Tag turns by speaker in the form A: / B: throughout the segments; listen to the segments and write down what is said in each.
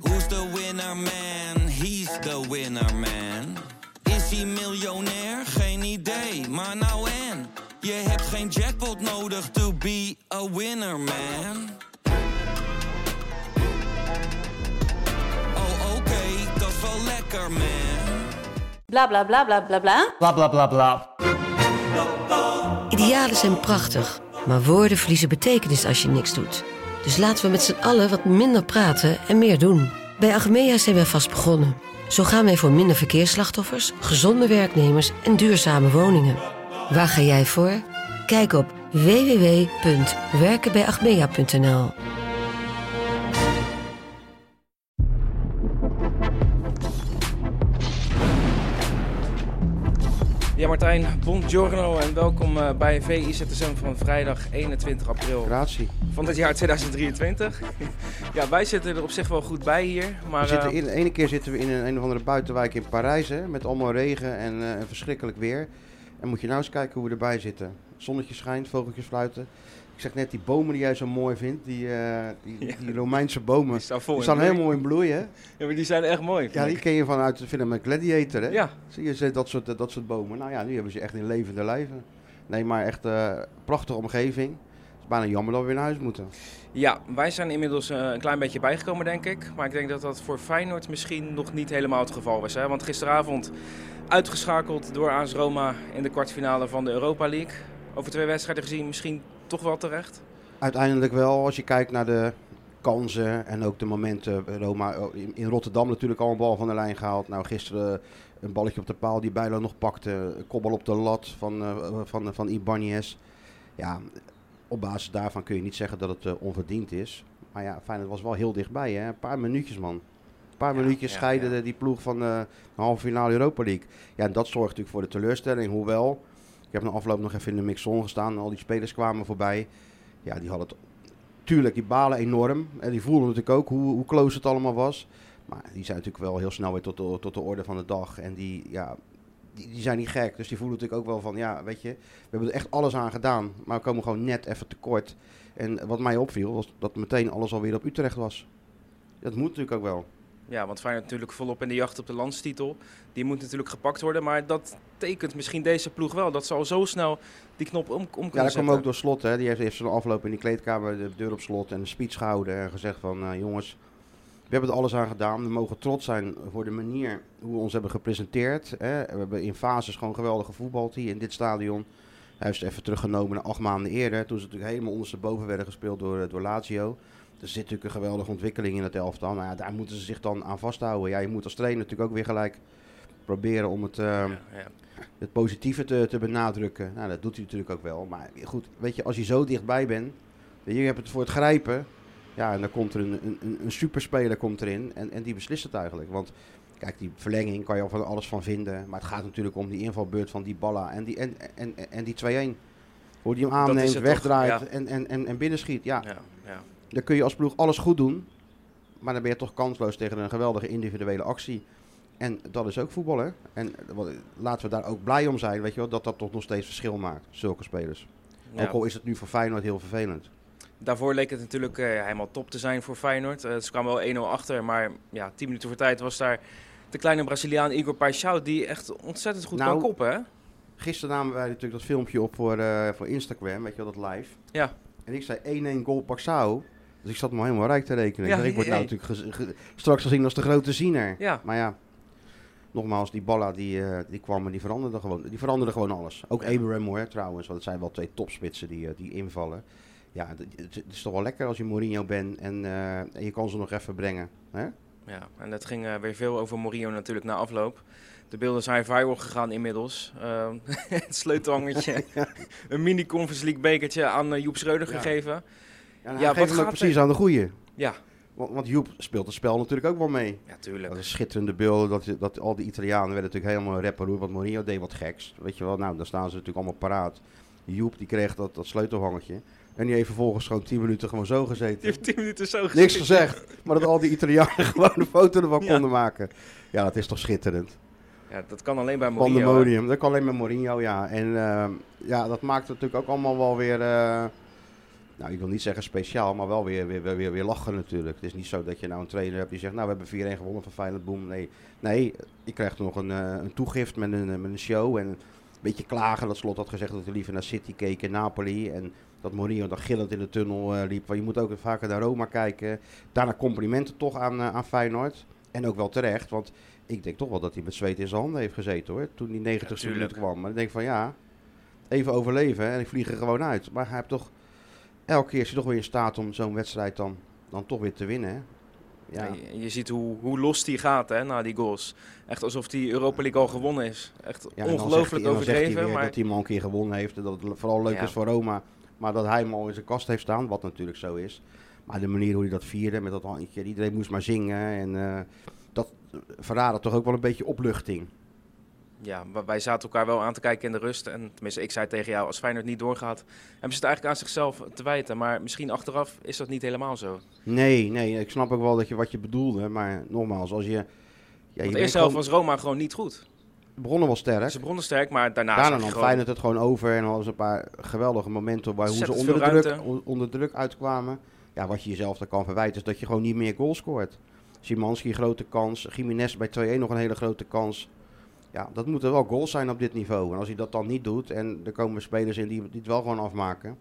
A: Who's the winner man? He's the winner man. Is hij miljonair? Geen idee, maar nou en. Je hebt geen jackpot nodig to be a winner man. Oh oké, dat is wel lekker man.
B: Bla bla bla bla bla bla.
C: Bla bla bla bla.
D: Idealen zijn prachtig, maar woorden verliezen betekenis als je niks doet. Dus laten we met z'n allen wat minder praten en meer doen. Bij Agmea zijn we vast begonnen. Zo gaan wij voor minder verkeersslachtoffers, gezonde werknemers en duurzame woningen. Waar ga jij voor? Kijk op www.werkenbijagmea.nl
E: Ja, Martijn, buongiorno en welkom eh, bij VIZSM van vrijdag 21 april
F: Gratie.
E: van het jaar 2023. ja, wij zitten er op zich wel goed bij hier, maar...
F: We zitten
E: eh,
F: in, de ene keer zitten we in een, een of andere buitenwijk in Parijs, hè, met allemaal regen en eh, en verschrikkelijk weer. En moet je nou eens kijken hoe we erbij zitten. Zonnetje schijnt, vogeltjes fluiten. Ik zeg net, die bomen die jij zo mooi vindt, die, eh, die,
E: Ja.
F: die Romeinse bomen,
E: die staan vol
F: die
E: in
F: staan
E: bloei.
F: helemaal in bloei, hè?
E: Ja, maar die zijn echt mooi.
F: Ja, die ken je vanuit de film Gladiator, hè?
E: Ja,
F: Zie je ze- dat soort, dat soort bomen? Nou ja, nu hebben ze echt in levende lijven. Nee, maar echt eh prachtige omgeving. Het is bijna jammer dat we weer naar huis moeten.
E: Ja, wij zijn inmiddels eh, een klein beetje bijgekomen, denk ik. Maar ik denk dat dat voor Feyenoord misschien nog niet helemaal het geval was. Hè? Want gisteravond uitgeschakeld door AS Roma in de kwartfinale van de Europa League. Over twee wedstrijden gezien misschien toch wel terecht.
F: Uiteindelijk wel, als je kijkt naar de kansen en ook de momenten. Roma oh, in in Rotterdam natuurlijk al een bal van de lijn gehaald. Nou, gisteren een balletje op de paal die Bijlo nog pakte. Een kopbal op de lat van, eh, van, van Ibanez. Ja, op basis daarvan kun je niet zeggen dat het eh, onverdiend is. Maar ja, Feyenoord was wel heel dichtbij. Hè? Een paar minuutjes, man. Een paar
E: Ja,
F: minuutjes
E: ja,
F: scheiden
E: ja.
F: de- die ploeg van eh, de halve finale Europa League. Ja, en dat zorgt natuurlijk voor de teleurstelling. Hoewel, ik heb na afloop nog even in de mixon gestaan. En al die spelers kwamen voorbij. Ja, die hadden het... Tuurlijk, die balen enorm. En die voelden natuurlijk ook hoe, hoe close het allemaal was. Maar die zijn natuurlijk wel heel snel weer tot de, tot de orde van de dag. En die, ja, die, die zijn niet gek. Dus die voelen natuurlijk ook wel van, ja, weet je... We hebben er echt alles aan gedaan. Maar we komen gewoon net even tekort. En wat mij opviel, was dat meteen alles alweer op Utrecht was. Dat moet natuurlijk ook wel.
E: Ja, want Feyenoord natuurlijk volop in de jacht op de landstitel. Die moet natuurlijk gepakt worden. Maar dat tekent misschien deze ploeg wel. Dat ze al zo snel die knop om, om kunnen
F: Ja, dat kwam
E: zetten.
F: ook door slot. Hè. Die heeft, heeft zijn afloop in die kleedkamer de deur op slot en een speech gehouden. En gezegd van, eh, jongens, we hebben er alles aan gedaan. We mogen trots zijn voor de manier hoe we ons hebben gepresenteerd. Hè. We hebben in fases gewoon geweldig gevoetbald hier in dit stadion. Hij heeft ze even teruggenomen naar acht maanden eerder. Toen ze natuurlijk helemaal ondersteboven werden gespeeld door, eh, door Lazio. Er zit natuurlijk een geweldige ontwikkeling in het elftal. Nou ja, daar moeten ze zich dan aan vasthouden. Ja, je moet als trainer natuurlijk ook weer gelijk proberen om het... eh,
E: Ja, ja.
F: het positieve te, te benadrukken. Nou, dat doet hij natuurlijk ook wel. Maar goed, weet je, als je zo dichtbij bent, je hebt het voor het grijpen. Ja, en dan komt er een, een- een, een superspeler komt erin en, en die beslist het eigenlijk. Want kijk, die verlenging kan je al van alles van vinden. Maar het gaat natuurlijk om die invalbeurt van die Balla en die, en, en, en, en die 2-1. Hoe die hem
E: Dat is
F: aanneemt,
E: het
F: wegdraait
E: toch,
F: en, en, en, en binnenschiet. Ja,
E: Ja, ja.
F: dan kun je als ploeg alles goed doen. Maar dan ben je toch kansloos tegen een geweldige individuele actie. En dat is ook voetbal, hè? En wat- laten we daar ook blij om zijn, weet je wel, dat dat toch nog steeds verschil maakt, zulke spelers.
E: Ja.
F: Ook al is het nu voor Feyenoord heel vervelend.
E: Daarvoor leek het natuurlijk eh, helemaal top te zijn voor Feyenoord. Eh, ze kwamen wel 1-0 achter, maar ja, 10 minuten voor tijd was daar de kleine Braziliaan Igor Paixão... die echt ontzettend goed
F: Nou,
E: kan koppen, hè?
F: Gisteren namen wij natuurlijk dat filmpje op voor, eh, voor Instagram, weet je wel, dat live.
E: Ja.
F: En ik zei 1-1 goal Paxao. Dus ik zat me helemaal rijk te rekenen.
E: Ja,
F: ik, dacht, ik word nou
E: jee.
F: natuurlijk gez- ge- straks gezien als de grote ziener.
E: Ja.
F: Maar ja, nogmaals, die Balla die, eh, die kwam en die veranderde gewoon, die veranderde gewoon alles. Ook Abraham hoor, trouwens, want het zijn wel twee topspitsen die, eh, die invallen. Ja, het, het- het is toch wel lekker als je Mourinho bent en, eh, en je kan ze nog even brengen. Hè?
E: Ja, en dat ging eh, weer veel over Mourinho natuurlijk na afloop. De beelden zijn viral gegaan inmiddels. Ehm, het sleutelhangertje, een mini Conference League bekertje aan eh, Joep Schreuder
F: Ja.
E: gegeven.
F: Ja, en
E: Ja,
F: hij
E: wat
F: geeft hem ook
E: gaat
F: precies aan de goeie.
E: Ja,
F: Want, want Joep speelt het spel natuurlijk ook wel mee.
E: ja
F: Dat
E: tuurlijk.
F: is schitterende beelden. Dat, dat al die Italianen werden natuurlijk helemaal rapper Want Mourinho deed wat geks. Weet je wel, nou, dan staan ze natuurlijk allemaal paraat. Joep, die kreeg dat, dat sleutelhangertje. En die heeft vervolgens gewoon 10 minuten gewoon zo
E: Die
F: gezeten.
E: heeft 10 minuten zo gezien.
F: Niks gezegd. Maar dat al die Italianen gewoon een foto ervan
E: Ja.
F: konden maken. Ja, dat is toch schitterend.
E: Ja, dat kan alleen bij Mourinho. hè?
F: Pandemonium. Dat kan alleen maar Mourinho, ja. En ehm, ja, dat maakt het natuurlijk ook allemaal wel weer... eh, Nou, ik wil niet zeggen speciaal, maar wel weer, weer, weer, weer, weer lachen natuurlijk. Het is niet zo dat je nou een trainer hebt die zegt, nou we hebben 4-1 gewonnen van Feyenoord, boem. Nee, nee je krijgt nog een, eh, een toegift met een, eh, met een show en een beetje klagen. Dat Slot had gezegd dat hij liever naar City keek in Napoli. En dat Mourinho dan gillend in de tunnel eh, liep. Want je moet ook vaker naar Roma kijken. Daarna complimenten toch aan, eh, aan Feyenoord. En ook wel terecht, want ik denk toch wel dat hij met zweet in zijn handen heeft gezeten hoor. Toen die 90
E: Ja,
F: ste
E: tuurlijk.
F: minuut kwam. Maar ik denk van ja, even overleven hè, en ik vlieg er gewoon uit. Maar hij heeft toch, elke keer is hij toch weer in staat om zo'n wedstrijd dan, dan toch weer te winnen. Hè? Ja,
E: Ja, je, je ziet hoe, hoe los die gaat hè, na die goals. Echt alsof die Europa League al gewonnen is. Echt
F: ja, en dan zegt hij- en
E: ongelooflijk
F: dan zegt hij
E: overdreven.
F: weer
E: Maar
F: Dat hij hem al een keer gewonnen heeft en dat het vooral leuk
E: Ja.
F: is voor Roma. Maar dat hij hem al in zijn kast heeft staan, wat natuurlijk zo is. Maar de manier hoe hij dat vierde met dat handje, iedereen moest maar zingen. En eh, dat verraadde toch ook wel een beetje opluchting.
E: ja, wa- wij zaten elkaar wel aan te kijken in de rust. En tenminste, ik zei tegen jou, als Feyenoord niet doorgaat, hebben ze het eigenlijk aan zichzelf te wijten. Maar misschien achteraf is dat niet helemaal zo.
F: Nee, nee, ik snap ook wel dat je wat je bedoelde. Maar nogmaals, als je. Ja, je
E: Want
F: bent
E: de eerste
F: gewoon-
E: helft was Roma gewoon niet goed.
F: begonnen wel sterk.
E: Ze begonnen sterk, maar daarna,
F: Daarna
E: zag je
F: nam
E: gewoon-
F: Feyenoord het gewoon over en hadden ze een paar geweldige momenten waar hoe ze
E: Ontzettend
F: onder de,
E: veel
F: druk,
E: ruimte.
F: on- onder druk uitkwamen. Ja, wat je jezelf dan kan verwijten is dat je gewoon niet meer goals scoort. Simanski grote kans, Jiménez bij 2-1 nog een hele grote kans. Ja, dat moeten wel goals zijn op dit niveau. En als hij dat dan niet doet en er komen spelers in die, die het wel gewoon afmaken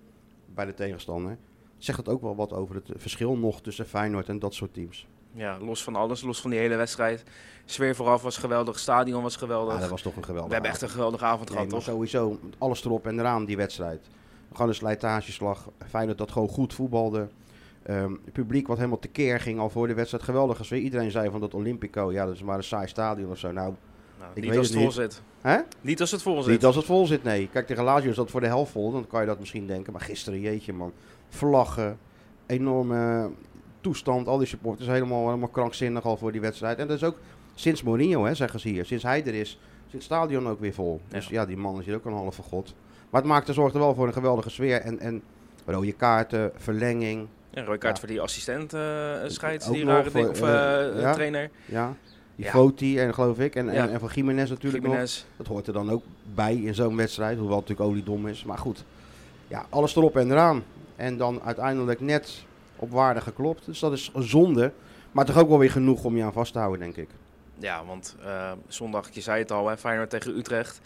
F: bij de tegenstander, zegt het ook wel wat over het verschil nog tussen Feyenoord en dat soort teams.
E: Ja, los van alles, los van die hele wedstrijd. Sfeer vooraf was geweldig, stadion was geweldig.
F: Ja, dat was toch een geweldige
E: We hebben
F: avond.
E: echt een geweldige avond
F: Nee,
E: gehad,
F: maar
E: toch?
F: sowieso alles erop en eraan die wedstrijd. Gewoon een slijtageslag. Feyenoord dat gewoon goed voetbalde. Ehm, het publiek wat helemaal tekeer ging al voor de wedstrijd. Geweldig als weer iedereen zei van dat Olympico, ja dat is maar een saai stadion of zo. Nou,
E: Nou,
F: Ik
E: niet
F: weet
E: als
F: het
E: het vol zit.
F: hè?
E: Niet als het vol zit.
F: Niet als het vol zit, nee. Kijk, tegen Lazio is dat voor de helft vol, dan kan je dat misschien denken. Maar gisteren, jeetje man, vlaggen, enorme toestand. Al die supporters helemaal, helemaal krankzinnig al voor die wedstrijd. En dat is ook sinds Mourinho, hè, zeggen ze hier. Sinds hij er is, zit het stadion ook weer vol. Dus ja, die man is hier ook een halve god. Maar het maakte, zorgde wel voor een geweldige sfeer. En, en rode kaarten, verlenging.
E: Ja, rode kaart
F: Ja.
E: voor die assistent eh scheids,
F: Ook
E: die
F: nog
E: rare ding,
F: voor,
E: of
F: eh,
E: eh,
F: ja.
E: trainer,
F: Ja, die
E: Ja.
F: Foti en geloof ik. En,
E: Ja.
F: en, en van Jiménez natuurlijk nog.
E: Jiménez.
F: Dat hoort er dan ook bij in zo'n wedstrijd, hoewel het natuurlijk oliedom is. Maar goed, ja, alles erop en eraan. En dan uiteindelijk net op waarde geklopt. Dus dat is een zonde. Maar toch ook wel weer genoeg om je aan vast te houden, denk ik.
E: Ja, want eh, zondag, je zei het al, hè, Feyenoord tegen Utrecht.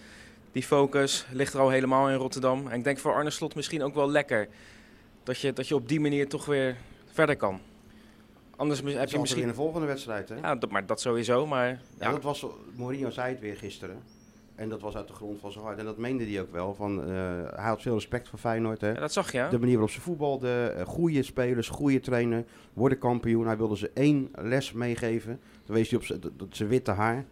E: Die focus ligt er al helemaal in Rotterdam. En ik denk voor Arne Slot misschien ook wel lekker. Dat je, dat je op die manier toch weer verder kan. Anders mis- heb
F: Heb
E: je
F: in
E: misschien...
F: de volgende wedstrijd, hè? Ja,
E: Ja, dat, maar dat sowieso, maar... Ja,
F: dat was, Mourinho zei het weer gisteren. En dat was uit de grond van zijn hart. En dat meende hij ook wel. Van, eh, hij had veel respect voor Feyenoord, hè?
E: ja, dat zag je, hè?
F: De manier waarop ze voetbalden, eh, goede spelers, goede trainer, worden kampioen. Hij wilde ze één les meegeven. Toen wees hij op z'n- dat- dat zijn witte haar.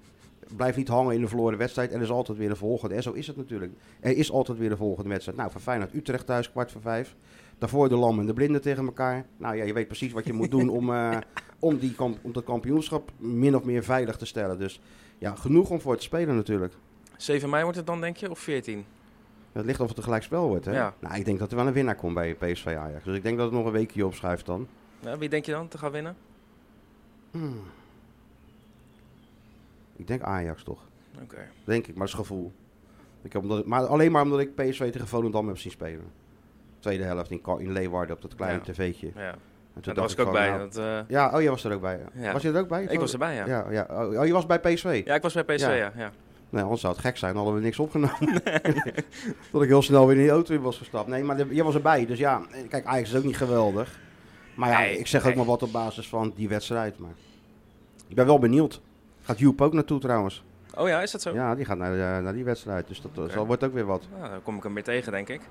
F: Blijf niet hangen in de verloren wedstrijd. Er is altijd weer de volgende. En zo is het natuurlijk. Er is altijd weer de volgende wedstrijd. Nou, van Feyenoord Utrecht thuis, kwart voor vijf. Daarvoor de lam en de blinden tegen elkaar. Nou ja, je weet precies wat je moet doen om, eh, om, die kamp- om dat kampioenschap min of meer veilig te stellen. Dus ja, genoeg om voor te spelen natuurlijk.
E: 7 mei wordt het dan, denk je? Of 14?
F: Het ligt of het een gelijkspel wordt, hè?
E: Ja.
F: Nou, ik denk dat er wel een winnaar komt bij PSV Ajax. Dus ik denk dat het nog een weekje opschuift dan.
E: Ja, wie denk je dan te gaan winnen?
F: Hmm. Ik denk Ajax toch.
E: Oké.
F: Denk ik, maar dat is gevoel. Ik heb omdat, maar alleen maar omdat ik PSV tegen Volendam heb zien spelen. Tweede helft in, Ka- in Leeuwarden op dat kleine
E: Ja.
F: tv'tje. En
E: Ja, daar
F: toen
E: was ik ook
F: van,
E: bij.
F: nou-
E: dat, eh,
F: ja, oh, jij was er ook bij.
E: Ja.
F: Was je er ook bij?
E: ik was erbij, ja. ja.
F: Ja, ja. Oh, oh, je was bij PSV?
E: ik was bij PSV,
F: Ja.
E: ja. ja,
F: Nee, Nou, anders zou het gek zijn, dan hadden we niks opgenomen. dat ik heel snel weer in die auto in was gestapt. Nee, maar de- jij was erbij, dus ja. Kijk, Ajax is ook niet geweldig. Maar ja,
E: Nee,
F: ik zeg ook
E: nee.
F: maar wat op basis van die wedstrijd. Maar ik ben wel benieuwd. Gaat Joep ook naartoe trouwens?
E: Oh ja, is dat zo?
F: Ja, die gaat naar, eh, naar die wedstrijd, dus dat eh,
E: Oké.
F: zal- wordt ook weer wat.
E: Nou, daar kom ik hem weer tegen, denk ik.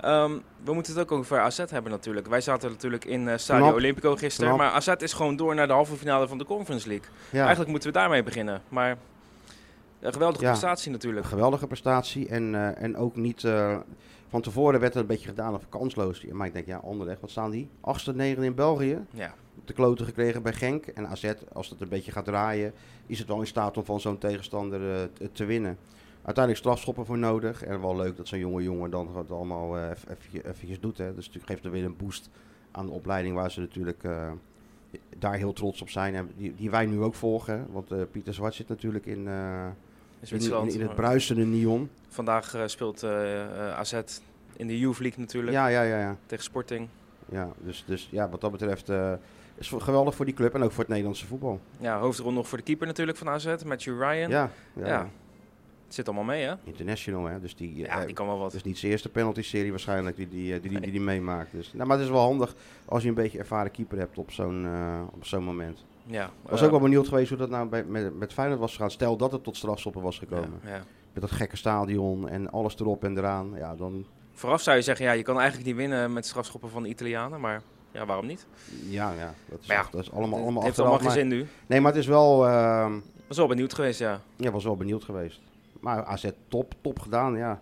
E: Ehm, we moeten het ook over AZ hebben natuurlijk. Wij zaten natuurlijk in eh Stadio
F: Knap.
E: Olympico gisteren.
F: Knap.
E: Maar AZ is gewoon door naar de halve finale van de Conference League.
F: Ja,
E: Eigenlijk moeten we daarmee beginnen. Maar een geweldige
F: Ja.
E: prestatie natuurlijk.
F: een geweldige prestatie en, eh, en ook niet... eh, van tevoren werd er een beetje gedaan of kansloos. Maar ik denk, ja, Anderlecht, wat staan die? Achtste, negen in België.
E: Ja,
F: op de kloten gekregen bij Genk. En AZ, als dat een beetje gaat draaien, is het wel in staat om van zo'n tegenstander eh, t- te winnen. Uiteindelijk strafschoppen voor nodig. En wel leuk dat zo'n jonge jongen dan het allemaal eh, eff- effentje- eventjes doet. Hè. Dus natuurlijk geeft er weer een boost aan de opleiding waar ze natuurlijk eh, daar heel trots op zijn. En die, die wij nu ook volgen. Want eh, Pieter Zwart zit natuurlijk in, eh,
E: in
F: in, in,
E: Zwitserland.
F: in het
E: Maar
F: bruisende Nyon.
E: Vandaag eh, speelt eh, eh, AZ eh, in de Youth League natuurlijk
F: Ja, ja, ja, ja.
E: tegen Sporting.
F: ja, dus, dus ja, wat dat betreft eh, is het geweldig voor die club en ook voor het Nederlandse voetbal.
E: Ja, hoofdrol nog voor de keeper natuurlijk van AZ, Matthew Ryan.
F: Ja, ja,
E: Ja. Het zit allemaal mee, hè?
F: international hè. Dus die,
E: Ja,
F: eh,
E: die kan wel
F: Het
E: wat.
F: is niet zijn eerste penalty-serie waarschijnlijk die die, eh, die, die, die, die meemaakt. Dus, nou, maar het is wel handig als je een beetje ervaren keeper hebt op zo'n eh, op zo'n moment.
E: Ja.
F: Ik was
E: eh,
F: ook wel benieuwd geweest hoe dat nou bij, met, met Feyenoord was gegaan. Stel dat het tot strafstoppen was gekomen.
E: ja, ja.
F: Met dat gekke stadion en alles erop en eraan. Ja, dan,
E: Vooraf zou je zeggen, ja, je kan eigenlijk niet winnen met strafschoppen van de Italianen, maar ja, waarom niet?
F: ja, ja, dat, is,
E: Maar ja,
F: dat is allemaal,
E: het
F: allemaal
E: heeft
F: achteraf.
E: allemaal geen zin nu.
F: Maar- nee, maar het is wel... eh,
E: Was wel benieuwd geweest, ja.
F: ja, was wel benieuwd geweest. Maar AZ top, top gedaan, ja.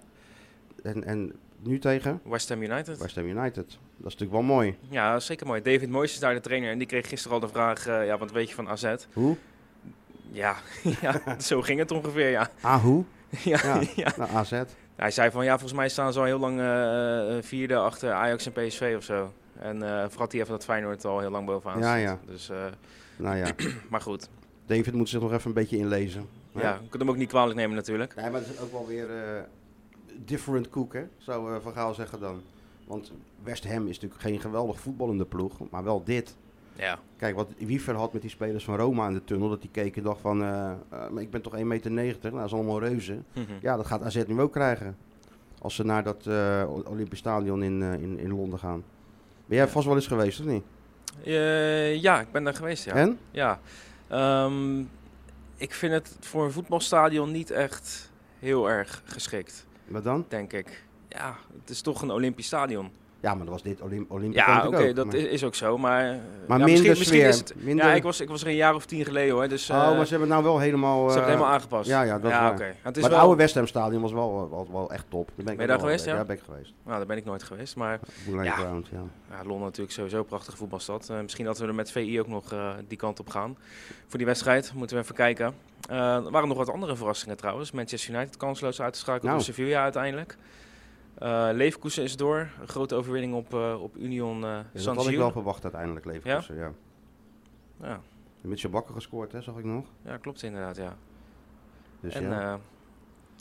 F: En, en nu tegen
E: West Ham United.
F: West Ham United. Dat is natuurlijk wel mooi.
E: Ja, zeker mooi. David Moyes is daar de trainer en die kreeg gisteren al de vraag, eh, ja, wat weet je van AZ?
F: Hoe?
E: Ja, ja zo ging het ongeveer, ja.
F: Ahoe?
E: ja,
F: Ja.
E: ja.
F: Nou, AZ.
E: Hij zei van, ja, volgens mij staan ze al heel lang eh, vierde achter Ajax en PSV of zo. En eh vooral die even dat Feyenoord al heel lang bovenaan
F: Ja,
E: staat.
F: ja.
E: Dus, eh,
F: Nou ja.
E: maar goed,
F: David moet zich nog even een beetje inlezen.
E: ja. je kunt hem ook niet kwalijk nemen natuurlijk.
F: Nee, maar het is ook wel weer eh, different cook, hè? zou eh Van Gaal zeggen dan. Want West Ham is natuurlijk geen geweldig voetballende ploeg, maar wel dit.
E: Ja,
F: Kijk, wat Wiever had met die spelers van Roma in de tunnel, dat die keken en dacht van, eh, eh, maar ik ben toch 1,90 meter, nou, dat is allemaal reuzen.
E: Mhm.
F: Ja, dat gaat AZ nu ook krijgen, als ze naar dat eh, Olympisch Stadion in, eh, in, in Londen gaan. Ben jij vast wel eens geweest, of niet?
E: Eh, ja ik ben daar geweest, ja.
F: En?
E: Ja, ehm, ik vind het voor een voetbalstadion niet echt heel erg geschikt,
F: Wat dan?
E: denk ik. Ja, het is toch een Olympisch stadion.
F: Ja, maar dat was dit Olymp Olympisch
E: Ja, oké, dat
F: maar,
E: is, is ook zo, maar... eh,
F: Maar
E: ja,
F: minder
E: misschien, misschien
F: sfeer,
E: is het-
F: minder-
E: Ja, ik was, ik was er een jaar of tien geleden, hoor, dus eh,
F: Oh, maar ze hebben het nou wel helemaal...
E: ze hebben het
F: eh,
E: helemaal aangepast.
F: ja, ja, dat is
E: ja,
F: waar.
E: oké. Het is
F: maar
E: wel...
F: het oude West Ham Stadion was wel, eh, wel, wel echt top. Daar ben
E: je
F: ik ook
E: daar
F: wel
E: geweest,
F: bij.
E: ja?
F: Ja, ben ik geweest.
E: Nou, daar ben ik nooit geweest, maar
F: Boerlijn
E: Ja.
F: Ground, ja.
E: ja, Londen natuurlijk sowieso een prachtige voetbalstad. Eh, misschien dat we er met VI ook nog eh, die kant op gaan. Voor die wedstrijd moeten we even kijken. Eh, er waren nog wat andere verrassingen trouwens. Manchester United kansloos uitgeschakeld
F: Nou.
E: door Sevilla uiteindelijk. Eh Leverkusen is door. Een grote overwinning op, eh, op Union eh
F: Ja,
E: San
F: Dus dat had ik wel
E: Siro.
F: verwacht uiteindelijk, Leverkusen. Ja?
E: Ja,
F: Met zijn bakken gescoord, hè, zag ik nog.
E: ja, klopt inderdaad, ja.
F: Dus
E: en,
F: ja,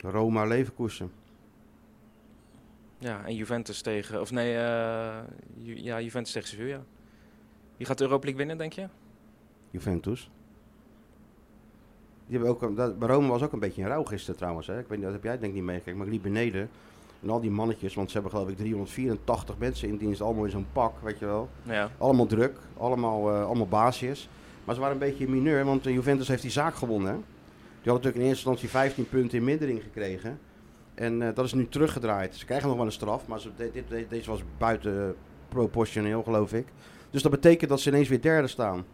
E: eh,
F: Roma, Leverkusen.
E: ja, en Juventus tegen... Of nee, eh, Ju- ja, Juventus tegen Sevilla. Wie gaat de Europa League winnen, denk je?
F: Juventus. Die hebben ook, een- dat, bij Rome was ook een beetje een rouw gisteren trouwens. Hè. Ik weet niet, dat heb jij denk ik niet meegekregen, maar ik liep beneden. En al die mannetjes, want ze hebben geloof ik 384 mensen in dienst, allemaal in zo'n pak, weet je wel.
E: Nou Ja.
F: Allemaal druk, allemaal, eh allemaal baasjes. Maar ze waren een beetje mineur, want eh, Juventus heeft die zaak gewonnen. hè. Die hadden natuurlijk in eerste instantie 15 punten in mindering gekregen. En eh, dat is nu teruggedraaid. Ze krijgen nog wel een straf, maar ze, dit, dit- dit- deze was buiten eh, proportioneel, geloof ik. Dus dat betekent dat ze ineens weer derde staan.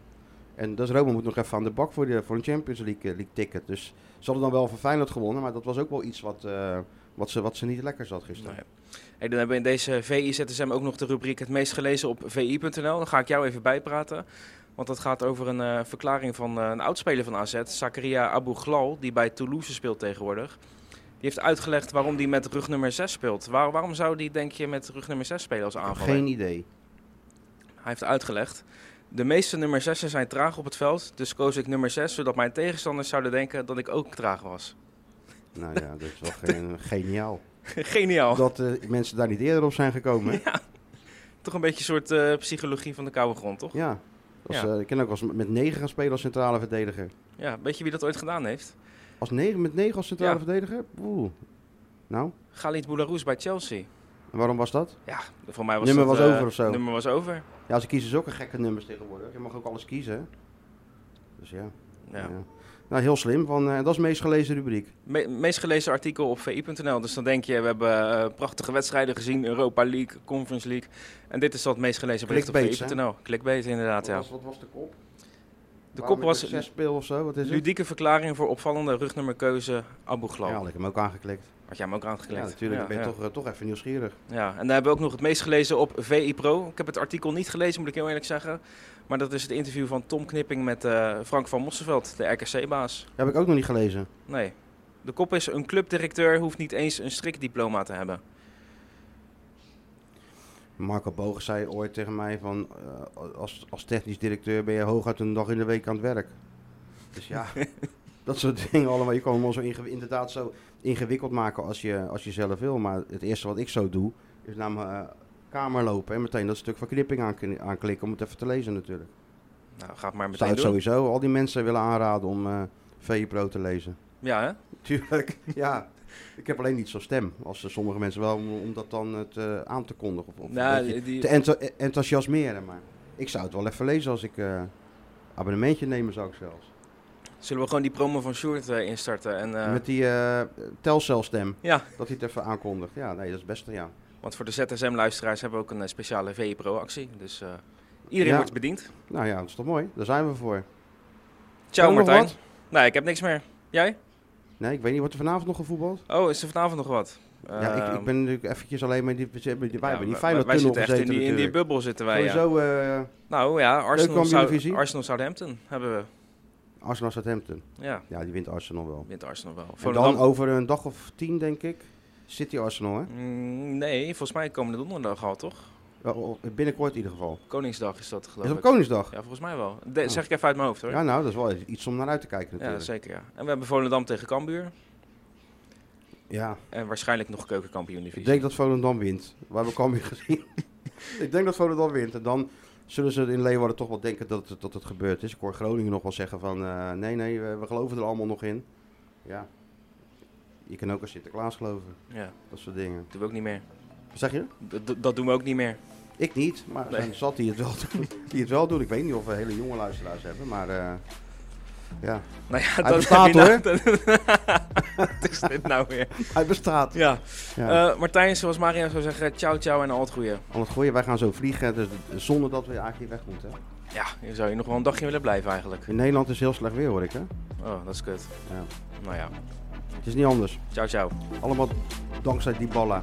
F: En dus Roma moet nog even aan de bak voor, de, voor een Champions League, eh, League ticket. Dus ze hadden dan wel van Feyenoord gewonnen, maar dat was ook wel iets wat, eh, wat, ze, wat ze niet lekker zat gisteren.
E: Nee. Hey, dan hebben we in deze VI-ZSM ook nog de rubriek het meest gelezen op vi.nl. Dan ga ik jou even bijpraten. Want dat gaat over een eh, verklaring van eh, een oudspeler van AZ, Zakaria Abu Ghlal, die bij Toulouse speelt tegenwoordig. Die heeft uitgelegd waarom hij met rug nummer 6 speelt. Waar- waarom zou die, denk je, met rug nummer 6 spelen als
F: Ik heb
E: aanvaller?
F: geen idee.
E: Hij heeft uitgelegd. De meeste nummer 6'en zijn traag op het veld, dus koos ik nummer 6, zodat mijn tegenstanders zouden denken dat ik ook traag was.
F: Nou ja, dat is wel geen, geniaal.
E: Geniaal.
F: Dat eh, mensen daar niet eerder op zijn gekomen. hè?
E: Toch een beetje een soort eh, psychologie van de koude grond, toch?
F: Ja. Als,
E: Ja.
F: eh, ik ken ook als met 9 gaan spelen als centrale verdediger.
E: Ja, weet je wie dat ooit gedaan heeft?
F: Als 9 met 9 als centrale
E: Ja.
F: verdediger? Oeh. Nou,
E: Galit Boularus bij Chelsea.
F: en waarom was dat?
E: Ja, voor mij was
F: Nummer
E: dat,
F: was
E: eh,
F: over of zo.
E: Nummer was over.
F: Ja, ze kiezen zulke gekke nummers tegenwoordig. Je mag ook alles kiezen. hè? Dus ja.
E: Ja.
F: ja. Nou, heel slim. Van, eh, dat is de meest gelezen rubriek.
E: Me- meest gelezen artikel op vi.nl. Dus dan denk je, we hebben eh, prachtige wedstrijden gezien. Europa League, Conference League. En dit is dat meest gelezen bericht op
F: Clickbait,
E: vi.nl. Clickbait inderdaad,
F: Wat,
E: ja.
F: was, wat was de kop?
E: De
F: Waarom
E: kop
F: ik
E: was
F: met zes speel of zo, wat is het?
E: ludieke verklaring voor opvallende rugnummerkeuze Abu Ghlal.
F: Ja, had ik hem ook aangeklikt.
E: Had jij hem ook aangeklikt?
F: Ja, natuurlijk. ik ben
E: ja.
F: Toch, eh, toch even nieuwsgierig.
E: Ja, en dan hebben we ook nog het meest gelezen op VI Pro. Ik heb het artikel niet gelezen, moet ik heel eerlijk zeggen. Maar dat is het interview van Tom Knipping met eh, Frank van Mosselveld, de RKC-baas.
F: heb ik ook nog niet gelezen.
E: Nee. De kop is: een clubdirecteur hoeft niet eens een strikdiploma te hebben.
F: Marco Bogen zei ooit tegen mij van, eh, als, als technisch directeur ben je hooguit een dag in de week aan het werk. Dus ja, dat soort dingen allemaal. Je kan hem wel zo inge- inderdaad zo ingewikkeld maken als je, als je zelf wil. Maar het eerste wat ik zo doe, is naar mijn eh, kamer lopen en meteen dat stuk verknipping aan, aanklikken om het even te lezen natuurlijk.
E: Nou, gaat maar
F: Ik
E: meteen
F: zou het
E: doen.
F: sowieso al die mensen willen aanraden om eh VE Pro te lezen.
E: Ja, hè?
F: Tuurlijk, ja. Ik heb alleen niet zo'n stem als eh, sommige mensen wel, om, om dat dan eh, te- aan te kondigen. Of, of een
E: Nou,
F: beetje
E: die-
F: te ento- eh, enthousiasmeren. Maar ik zou het wel even lezen als ik eh, abonnementje nemen zou ik zelfs.
E: Zullen we gewoon die promo van Sjoerd eh, instarten? En, eh,
F: Met die eh, telcelstem,
E: Ja,
F: dat hij het even aankondigt. Ja, nee, dat is best, ja.
E: want voor de ZSM-luisteraars hebben we ook een eh, speciale VE Pro-actie. Dus eh, iedereen
F: Ja.
E: wordt bediend.
F: Nou ja, dat is toch mooi? Daar zijn we voor.
E: Ciao,
F: Kan er nog
E: Martijn.
F: wat?
E: Nee, ik heb niks meer. Jij?
F: Nee, ik weet niet, wordt er vanavond nog gevoetbald?
E: Oh, is er vanavond nog wat?
F: ja,
E: Ehm,
F: ik, ik ben natuurlijk eventjes alleen maar... Die, wij hebben die
E: ja,
F: Feyenoord
E: wij- Wij
F: tunnel
E: zitten echt in
F: gezeten
E: die, in die
F: natuurlijk.
E: bubbel zitten wij. ja.
F: Sowieso eh
E: Nou ja, Arsenal,
F: Leuk
E: Sou-
F: Eredivisie.
E: Arsenal Southampton hebben we.
F: Arsenal Southampton.
E: Ja,
F: Ja, die wint Arsenal wel.
E: wint Arsenal wel.
F: En
E: Volendam-
F: dan over een dag of tien, denk ik, City Arsenal, hè?
E: Mm, nee, volgens mij komende donderdag al, toch?
F: Wel, o- Binnenkort in ieder geval.
E: Koningsdag is dat, geloof
F: Is
E: ik.
F: op Koningsdag?
E: Ja, volgens mij wel. De- zeg ik even uit mijn hoofd, hoor.
F: Oh. Ja, nou, dat is wel iets om naar uit te kijken
E: Ja,
F: natuurlijk.
E: zeker, ja. En we hebben Volendam tegen Cambuur.
F: Ja,
E: En waarschijnlijk nog keukenkampioen-divisie.
F: ik denk dat Volendam wint. We hebben Cambuur gezien. ik denk dat Volendam wint. En dan zullen ze in Leeuwarden toch wel denken dat het, dat het gebeurd is. Ik hoor Groningen nog wel zeggen van, eh, nee, nee, we, we geloven er allemaal nog in. Ja, je kan ook aan Sinterklaas geloven.
E: Ja,
F: Dat soort dingen.
E: dat doen we ook niet meer.
F: Wat zeg je?
E: D- d- dat doen we ook niet meer.
F: Ik niet, maar er
E: Nee.
F: zijn zat die het, wel doen, die het wel doen. Ik weet niet of we hele jonge luisteraars hebben, maar eh, ja.
E: Nou ja,
F: Hij bestaat,
E: nou- Wat is dit nou weer?
F: Hij bestaat.
E: Ja.
F: Ja.
E: Eh, Martijn, zoals Marian zou zeggen, ciao ciao en al het goede.
F: Al het goeie, wij gaan zo vliegen, dus zonder dat we eigenlijk hier weg moeten.
E: Ja, je zou hier nog wel een dagje willen blijven eigenlijk.
F: In Nederland is het heel slecht weer hoor ik hè.
E: Oh, dat is kut.
F: Ja.
E: Nou ja,
F: Het is niet anders.
E: ciao ciao.
F: Allemaal dankzij die ballen.